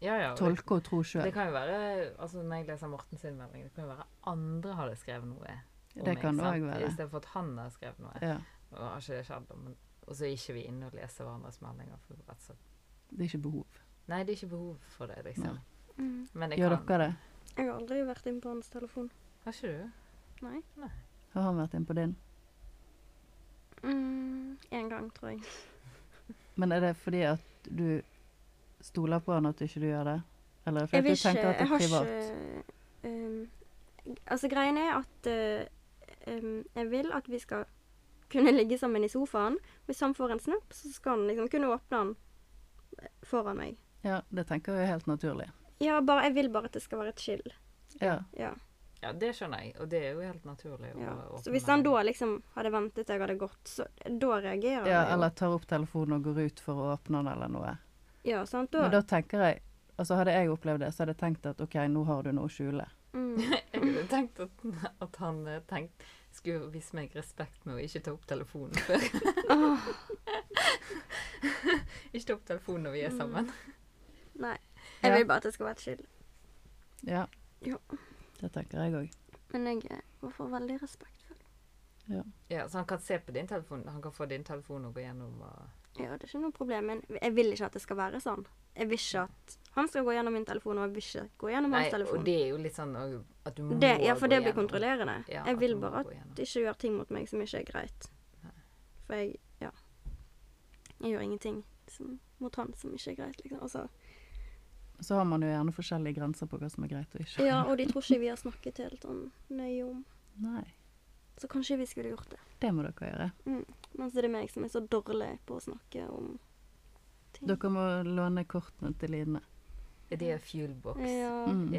ja. ja og det, tolke og tro det sjøl. kan jo være altså Når jeg leser Morten sin melding, det kan jo være andre hadde skrevet noe. om Det meg, kan det sant? òg være. Istedenfor at han har skrevet noe. Ja. Og har ikke det skjedd, da, men, og så er ikke vi inne og leser hverandres meldinger. For rett og slett. Det er ikke behov. Nei, det er ikke behov for det, liksom. Mm. Men jeg Gjør kan dere det? Jeg har aldri vært inne på hans telefon. Har ikke du? Nei. Har han vært inne på din? Mm, en gang, tror jeg. Men er det fordi at du stoler på han at du ikke du gjør det? Eller Jeg fordi at vil du ikke tenker at Jeg det er har privat? ikke ehm, Altså, greien er at eh, ehm, jeg vil at vi skal kunne ligge sammen i sofaen. Hvis han får en snap, så skal han liksom kunne åpne den foran meg. Ja, det tenker jeg er helt naturlig. Ja, bare, jeg vil bare at det skal være et chill. Ja. Ja, Ja, det skjønner jeg, og det er jo helt naturlig. å ja. åpne Så hvis han melding. da liksom hadde ventet til jeg hadde gått, så da reagerer ja, jeg jo. eller tar opp telefonen og går ut for å åpne den eller noe. Ja, sant? Da, Men da tenker jeg Altså Hadde jeg opplevd det, så hadde jeg tenkt at OK, nå har du noe å skjule. mm, Jeg kunne tenkt at, at han eh, tenkt, skulle vise meg respekt med å ikke ta opp telefonen før. ikke ta opp telefonen når vi Mm. er sammen. Mm. Nei. Ja. Jeg vil bare at det skal være et chill. Ja. Ja. Det tenker jeg òg. Men jeg eh, var for veldig respektfull. Ja, Så han kan se på din telefon, han kan få din telefon og gå gjennom og Ja, det er ikke noe problem, men jeg vil ikke at det skal være sånn. Jeg vil ikke at han skal gå gjennom min telefon, og jeg vil ikke gå gjennom Nei, hans telefon. og det er jo litt sånn og- at du må Det, ja, for gå det blir gjennom. kontrollerende. Ja, jeg at vil du må bare gå at gjennom. de ikke gjør ting mot meg som ikke er greit. For jeg ja. Jeg gjør ingenting som, mot han som ikke er greit, liksom. Altså, Så har man jo gjerne forskjellige grenser på hva som er greit og ikke. ja, og de tror ikke vi har snakket helt sånn nøye om. Nei. Så kanskje vi skulle gjort det. Det må dere gjøre. Mm. Men så er det meg som er så dårlig på å snakke om ting. Dere må låne kortene til Line. Ja, De er fuelbox. Ja. Ja, Mm.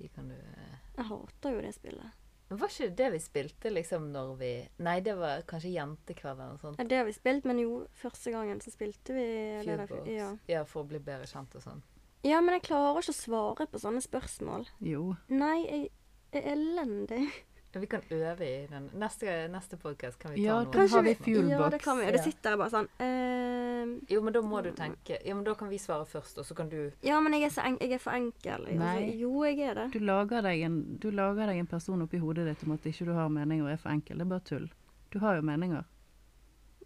De kan du eh. jeg hater jo det spillet. Men var ikke det det vi spilte liksom når vi Nei, det var kanskje Jentekveld eller noe sånt. Ja, det har vi spilt, men jo, første gangen så spilte vi det der. Fuelbox. Ja. Ja. for å bli bedre kjent og sånn. ja, men jeg klarer ikke å svare på sånne spørsmål. Jo. Nei, jeg er elendig. Ja, vi kan øve i den. Neste, neste podcast kan vi ta Ja, noe. da Kanskje har vi vi- Ja, fuelbox. det kan vi. Og det Ja. sitter jeg bare sånn ehm, Jo, men da må du tenke Ja, men da kan vi svare først, og så kan du Ja, men jeg er, så en jeg er for enkel. Jeg, Nei. Altså, jo, jeg er det. Du lager, deg en, du lager deg en person oppi hodet ditt om at ikke du har meninger og er for enkel. Det er bare tull. Du har jo meninger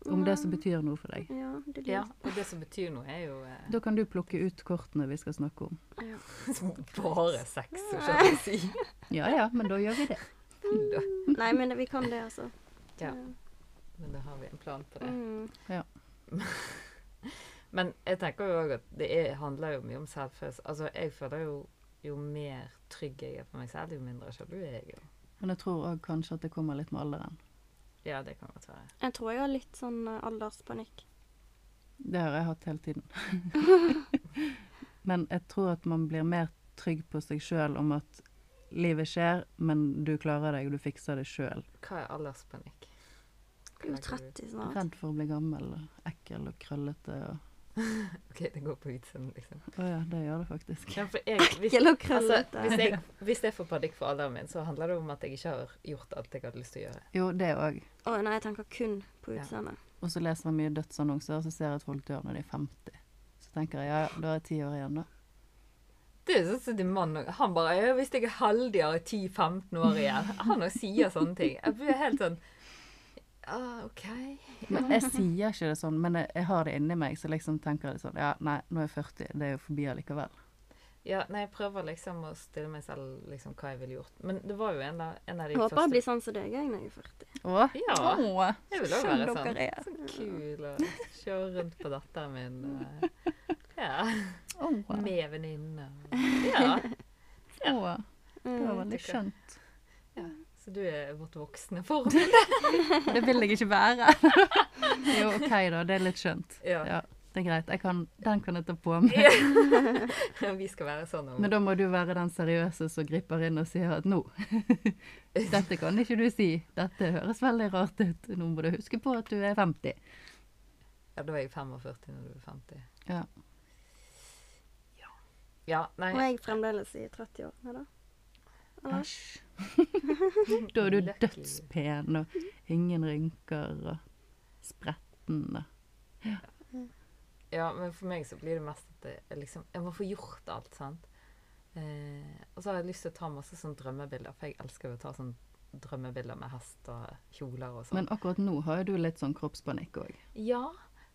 om det som betyr noe for deg. Ja, det er Ja, litt- og det som betyr noe, er jo eh, Da kan du plukke ut kortene vi skal snakke om. ja. bare sex og sjalusi. Ja ja, men da gjør vi det. Da- Nei, men det, vi kan det, altså. Ja, men da har vi en plan på det. Mm. Men jeg tenker jo òg at det er, handler jo mye om selvfølelse. Altså, jeg føler jo jo mer trygg jeg er på meg selv, jo mindre sjalu er jeg jo. Men jeg tror òg kanskje at det kommer litt med alderen. Ja, det kan godt være. Jeg tror jeg har litt sånn eh, alderspanikk. Det har jeg hatt hele tiden. men jeg tror at man blir mer trygg på seg sjøl om at livet skjer, men du klarer deg, og du fikser det sjøl. Hva er alderspanikk? Jeg blir jo 30 snart. Redd for å bli gammel og ekkel og krøllete og OK, det går på utseendet, liksom. Å ja, det gjør det faktisk. Ja, for jeg, hvis, Ekkel og altså, krøllete. hvis, jeg, hvis jeg får panikk for alderen min, så handler det om at jeg ikke har gjort alt jeg hadde lyst til å gjøre. Jo, det òg. Å nei, jeg tenker kun på Ja. utseendet. Og så leser man mye dødsannonser, og så ser jeg at folk dør når de er 50. Så tenker jeg ja, ja, da er jeg ti år igjen, da. Det er sånn som din mann og- Han bare «Ja, 'Hvis jeg er heldig, har jeg 10-15 år igjen.' Han også sier sånne ting. Jeg blir helt sånn ah, OK. Men jeg sier ikke det sånn, men jeg, jeg har det inni meg, så liksom tenker jeg det sånn Ja, nei, nå er jeg 40, det er jo forbi allikevel. Ja, nei, jeg prøver liksom å stille meg selv liksom, hva jeg ville gjort. Men det var jo en av, en av de Jeg håper jeg første blir sånn som deg jeg når jeg er 40. Å, Ja. Å, Jeg vil også være skjønn dere sånn. er. Så kul å kjøre rundt på datteren min. og- Ja. Å, Med venninner. Ja. å, det var Mm. veldig skjønt. ja. Så du er vårt voksne form. Det vil jeg ikke være. Jo, OK, da. Det er litt skjønt. Ja. Ja, det er greit. Jeg kan, den kan jeg ta på meg. Vi skal være sånn om Men da må du være den seriøse som griper inn og sier at nå Dette kan ikke du si. Dette høres veldig rart ut. Nå må du huske på at du er 50. Ja, da er jeg 45 når du er 50. Ja. Ja, nei. Og jeg er fremdeles i 30-årene, da. Eller? Æsj. Da er du Lucky. dødspen og ingen rynker og spretten og Ja, men for meg så blir det mest at det er liksom, jeg må få gjort alt, sant? Eh, og så har jeg lyst til å ta masse sånn drømmebilder, for jeg elsker jo å ta sånn drømmebilder med hest og kjoler og sånn. Men akkurat nå har jo du litt sånn kroppspanikk òg. ja,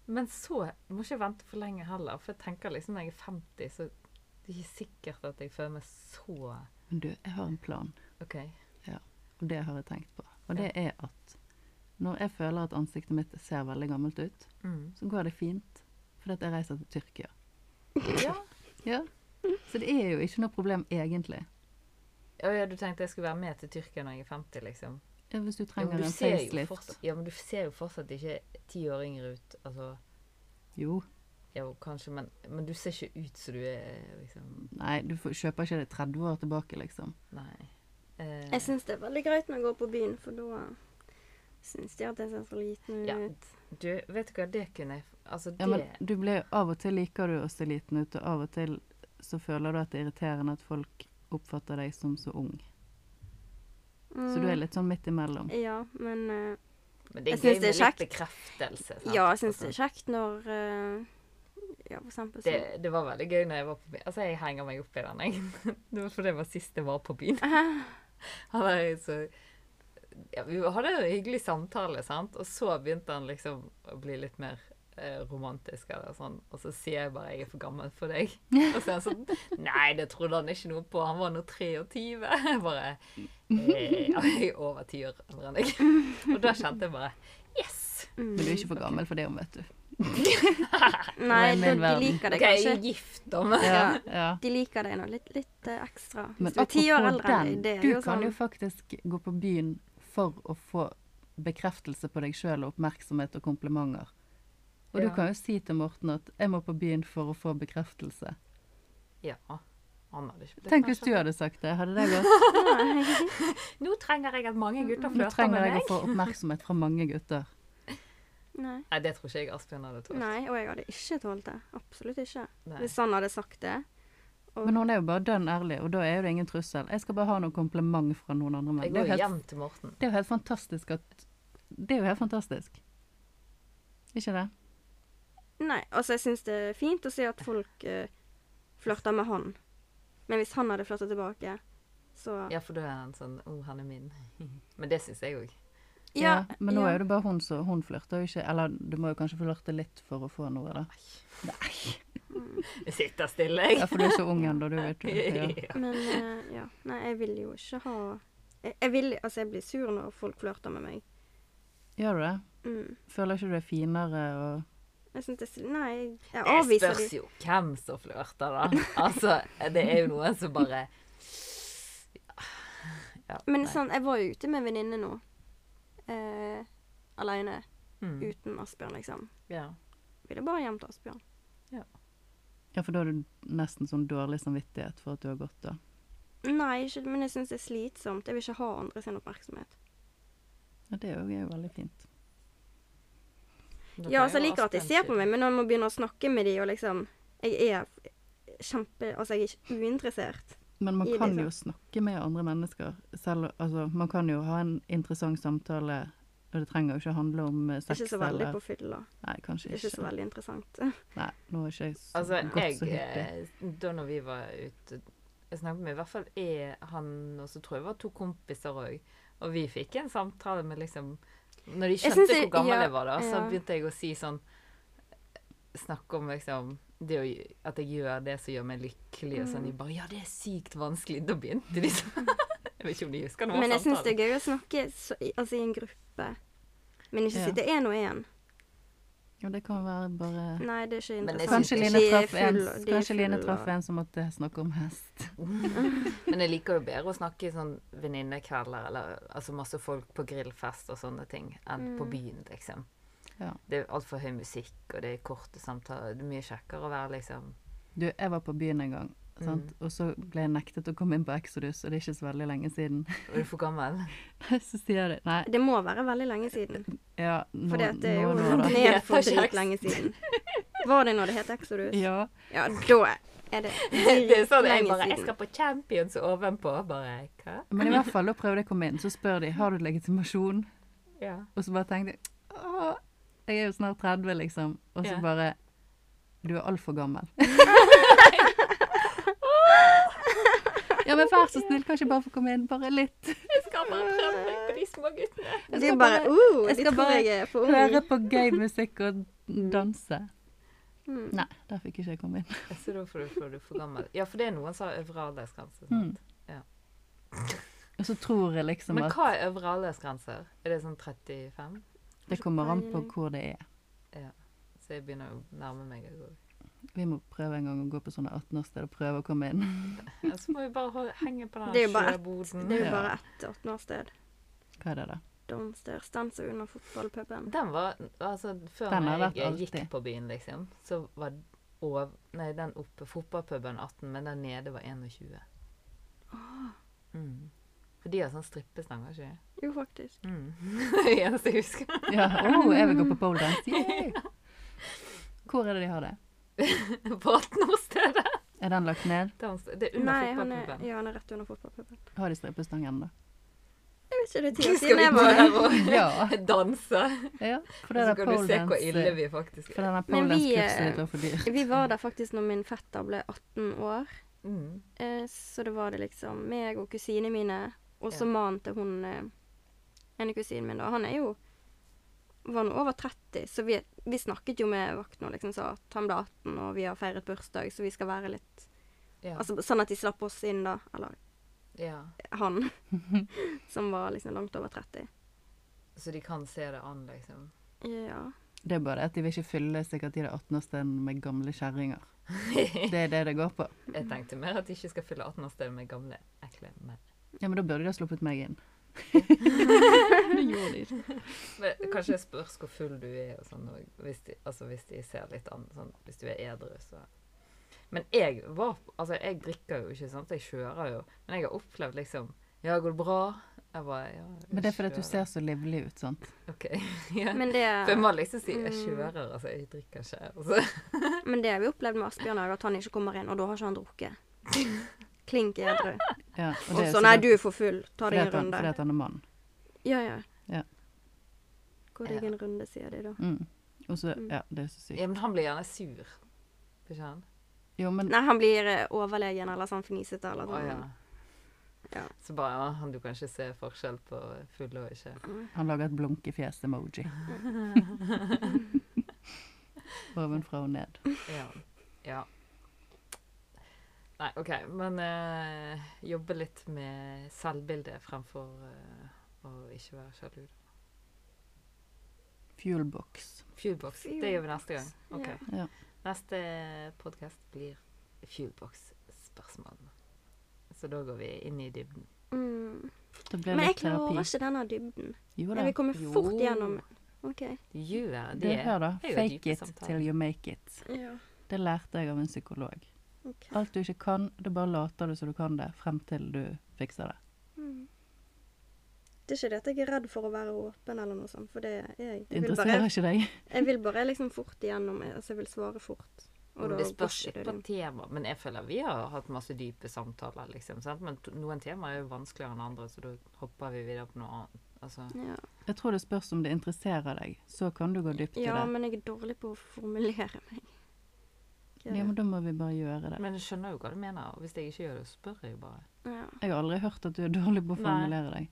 men så må ikke jeg vente for lenge heller, for jeg tenker liksom når jeg er 50, så det er ikke sikkert at jeg føler meg så... Men du, jeg har en plan, Ok, og det har jeg tenkt på. Og det er at Når jeg føler at ansiktet mitt ser veldig gammelt ut, Mm. så går det fint. Fordi at jeg reiser til Tyrkia. Ja. Ja. Så det er jo ikke noe problem egentlig. Å ja, du tenkte jeg skulle være med til Tyrkia når jeg er 50, liksom? Ja, Hvis du Jo, men trenger du en ser jo facelift. fortsatt- Ja, men du ser jo fortsatt ikke ti år yngre ut. Altså, Jo. ja, kanskje, men, men du ser ikke ut som du er liksom Nei, du får, kjøper ikke det 30 år tilbake, liksom. Nei. Eh, Jeg syns det er veldig greit når jeg går på byen, for da syns de at jeg ser så liten ut. Ja. du, vet du hva, det kunne jeg f- Altså, det Ja, men du blir, av og til liker du å se liten ut, og av og til så føler du at det er irriterende at folk oppfatter deg som så ung. Så du er litt sånn midt imellom. Ja, men eh, Men det er Jeg gøy synes med det er litt kjekt. bekreftelse. sant? Ja, jeg syns det Altså, er kjekt når eh, Ja, for eksempel det, sånn det var veldig gøy når jeg var på byen. Altså, jeg henger meg opp i den, jeg. Det var fordi det var sist jeg var på byen. Han var jo så ja, Vi hadde en hyggelig samtale, sant, og så begynte han liksom å bli litt mer eh, romantisk eller sånn, og så sier jeg bare 'jeg er for gammel for deg'. Og så er han sånn 'nei, det trodde han ikke noe på, han var nå 23'. Jeg bare eh, ja, 'Jeg er over ti år eldre enn deg'. Og da kjente jeg bare 'yes'. Men du er ikke for gammel for det om, vet du. Nei, i min de, de verden. liker deg Ok, jeg er kanskje. jo gift, da, men Ja, Ja. ja. De liker deg nå litt, litt eh, ekstra. Men Hvis du er ti år apropos eldre enn deg, det den, er du jo kan sånn jo faktisk gå på byen for å få bekreftelse på deg sjøl og oppmerksomhet og komplimenter. Og Ja. du kan jo si til Morten at 'jeg må på byen for å få bekreftelse'. Ja. Han hadde ikke blitt Tenk hvis kanskje. du hadde sagt det. Hadde det gått? Nå trenger jeg at mange gutter Nå flørter trenger med jeg å meg. få oppmerksomhet fra mange gutter. Nei. Nei, det tror ikke jeg Asbjørn hadde tålt. Nei, og jeg hadde ikke tålt det. Absolutt ikke. Nei. Hvis han hadde sagt det. Men hun er jo bare dønn ærlig, og da er jo det ingen trussel. Jeg skal bare ha noe kompliment fra noen andre Jeg menn. Det går er jo jo helt, hjem til Morten. det er jo helt fantastisk at Det er jo helt fantastisk. Ikke det? Nei, altså jeg syns det er fint å se at folk eh, flørter med han. Men hvis han hadde flørta tilbake, så Ja, for da er han sånn 'Å, han er min'. Men det syns jeg òg. Ja, men nå ja. er det bare hun som Hun flørter jo ikke. Eller du må jo kanskje flørte litt for å få noe, da. Mm. Jeg sitter stille, Ja, jeg. for du er så ung ennå, du vet jo. Ja. ikke, Men eh, ja. Nei, jeg vil jo ikke ha jeg, jeg vil Altså, jeg blir sur når folk flørter med meg. Ja. Gjør du det? Mm. Føler ikke du er finere og Jeg syns det er sl- Nei, jeg, jeg Det avviser spørs de. jo hvem som flørter, da. Altså, det er jo noen som bare ja, Men nei. sånn, jeg var jo ute med en venninne nå. Eh, Aleine. Mm, Uten Asbjørn, liksom. ja. Ville bare hjem til Asbjørn. Ja, for da har du nesten sånn dårlig samvittighet for at du har gått, da. Nei, ikke, men jeg syns det er slitsomt. Jeg vil ikke ha andre sin oppmerksomhet. Ja, det er jo- er jo veldig fint. Da Ja, kan altså, jeg jo liker at de Asbjørn ser si- på meg, men når man begynner å snakke med de, og liksom Jeg er kjempe Altså, jeg er ikke uinteressert. Men man I kan liksom- jo snakke med andre mennesker. Selv, altså, man kan jo ha en interessant samtale, og det trenger jo ikke handle om eh, Jeg sex er ikke så veldig eller på fylla. Nei, kanskje Det er ikke så ikke. veldig interessant. Nei, nå er ikke jeg så Altså, godt så jeg hyppig. eh, Da når vi var ute Jeg snakket med i hvert fall jeg, han, og så tror jeg det var to kompiser òg. Og vi fikk en samtale med liksom Når de Jeg skjønte synes det- hvor gammel ja, jeg var, da, så ja. begynte jeg å si sånn Snakke om liksom det å, gj- at jeg gjør det som gjør meg lykkelig, og sånn. De bare 'Ja, det er sykt vanskelig.' Da begynte de sånn. Jeg vet ikke om de husker noe Men jeg syns det samtalen. er gøy å snakke så, i, altså, i en gruppe. Men ikke Ja. sitte én og én. Ja, det kan være bare Nei, det er ikke Men jeg interessant. Kanskje synes Line De er traff en, full- de er kanskje Line full traff av- en som måtte snakke om hest. Men jeg liker jo bedre å snakke i sånn venninnekvelder eller altså masse folk på grillfest og sånne ting, enn Mm. på byen, liksom. Ja. Det er altfor høy musikk, og det er korte samtaler. Det er mye kjekkere å være liksom Du, jeg var på byen en gang, sant? Mm. og så ble jeg nektet å komme inn på Exodus, og det er ikke så veldig lenge siden. Er du for gammel? så sier de nei, Det må være veldig lenge siden. ja, nå, For det er jo nå, nå, da. ned for Ja, kjeks. drit lenge siden. Var det når det het Exodus? Ja, Ja, da er det Det er sånn jeg dritlenge bare Jeg siden. skal på Champions og ovenpå. Bare hva? men i hvert fall, da prøvde jeg å komme inn, så spør de, har du legitimasjon? Ja. Og så bare tenkte jeg, åh, jeg er jo snart 30, liksom. Og så Ja. bare, du er alt for gammel. ja, men vær så snill, kan ikke bare få komme inn, bare litt. Jeg skal bare prøve meg på de små guttene. Jeg De skal bare bare- oh, jeg de skal tror bare jeg er for Høre ung. på gøy musikk og danse. Mm. Nei, der fikk ikke jeg komme inn. Mm. Mm, Så da får du, får du for gammel. Ja, for det er noen som har øvre aldersgrense. Mm. sant? Ja. Og så tror jeg liksom Men at hva er øvre aldersgrenser? Er det sånn 35? det kommer an på hvor det er. Så jeg begynner å nærme meg. jeg også. Vi må prøve en gang å gå på sånne 18-årssted og prøve å komme inn. Ja, Så må vi bare hold- henge på Det er den jo bare ett. sjøboden. Det er jo Ja. bare ett 18-årssted. Hva er det, da? Downstairs. Den som er under fotballpuben. Den var altså, Før Den har når vært jeg alltid. gikk på byen, liksom, så var ov, nei, den oppe fotballpuben 18, men den nede var 21. Ah. Mm. For de har sånn strippestanger, ikke de? Jo, faktisk. Mm. det eneste jeg husker. Ja, oh, jeg vil gå på poledance. Yay! Hvor er det de har det? På 18-årsstedet. Er den lagt ned? Dans- Det er under Nei, han er, fotballpuben. ja, han er rett under fotballpuben. Har de strippestang ennå? Jeg vet ikke, det er ti Du år skal siden vi jeg gå var der der. og Ja. danse, ja. For det så der kan du se hvor ille poledance vi faktisk For er. denne Men vi, poledance-kurset eh, ditt var for dyrt. Vi var der faktisk når min fetter ble 18 år. Mm. Eh, Så det var det liksom meg og kusinene mine, og så Ja. mante hun eh, ene kusinen min, da. Han er jo var nå over 30, så vi, vi snakket jo med vakten og liksom sa at han ble 18, og vi har feiret bursdag, så vi skal være litt Ja. Altså sånn at de slapp oss inn, da. Eller ja. han. som var liksom langt over 30. Så de kan se det an, liksom. Ja. Det er bare det at de vil ikke fylle sikkert de der 18-årsstedene med gamle kjerringer. Det er det det går på. Jeg tenkte mer at de ikke skal fylle 18-årsdagen med gamle, ekle menn. Ja, men da burde de ha sluppet meg inn. det gjorde de ikke. Men Kanskje det spørs hvor full du er og sånn, og hvis, de, altså hvis de ser litt an, sånn, hvis du er edru, så Men jeg var Altså, jeg drikker jo ikke, sant, jeg kjører jo, men jeg har opplevd liksom Ja, går det bra? Jeg bare Ja. jeg Men det er fordi at du kjører.» ser så livlig ut, sant. OK. Ja. Men det, For jeg må liksom si jeg Mm. kjører, altså. Jeg drikker ikke. Altså. men det vi opplevde med Asbjørn, er jo at han ikke kommer inn, og da har ikke han drukket. Klink edru. Ja, Og det er jo så nei, sikkert du er for full. Ta fordi deg en at han- Fordi runde. at han er mann. Ja, ja. Ja. Gå deg en runde, sier de da. Mm. Og så, Mm. ja, det er så sykt. Ja, men han blir gjerne sur. Får Ikke han? Jo, men Nei, han blir eh, overlegen eller sånn fnisete eller Å sånn. ja. Ja. Så bare ja, han- Du kan ikke se forskjell på full og ikke. han lager et blunkefjes-emoji. Ovenfra og ned. Ja. ja. Nei, OK. Men eh, jobbe litt med selvbildet fremfor eh, å ikke være sjalu. Fuelbox. Fuelbox. Det gjør vi neste gang. Ok. Fuelbox, ja. Ja. Neste podkast blir fuelbox-spørsmålene. Så da går vi inn i dybden. Mm. Det blir Men jeg litt klarer terapi. ikke denne dybden. Jo Jeg da. vil komme Jo. fort gjennom. OK. Gjør det. Det, hør da. er jo Fake dype it samtaler. till you make it. Ja. Det lærte jeg av en psykolog. Ok. Alt du ikke kan, det bare later du som du kan det, frem til du fikser det. Mm. Det er ikke det at jeg er redd for å være åpen eller noe sånt, for det er jeg. Det Jeg vil interesserer bare, ikke deg. jeg vil bare liksom fort igjennom. jeg- Altså, jeg vil svare fort. Men da det spørs bortser litt det på tema. Men jeg føler vi har hatt masse dype samtaler, liksom. Sant? Men to- noen temaer er jo vanskeligere enn andre, så da hopper vi videre på noe annet. Altså, din. Ja. Jeg tror det spørs om det interesserer deg. Så kan du gå dypt i ja, det. men jeg er dårlig på å formulere meg. Ikke Ja, det? men da må vi bare gjøre det. men jeg skjønner jo hva du mener. Og hvis jeg ikke gjør det, så spør jeg jo bare. Ja. Jeg har aldri hørt at du er dårlig på å Nei. formulere deg.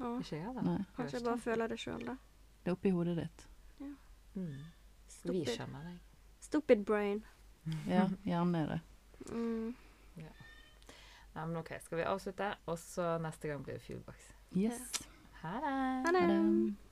Ja. Ikke jeg, da. Nei. Kanskje jeg bare føler det sjøl, da. Det er oppi hodet ditt. Mm. Vi Stupid. skjønner deg. Stupid brain. Ja, gjerne er det. Mm. Nei, men OK, skal vi avslutte? Og så neste gang blir det Fuelbox. Yes. Ha det! Ha det. Ha det.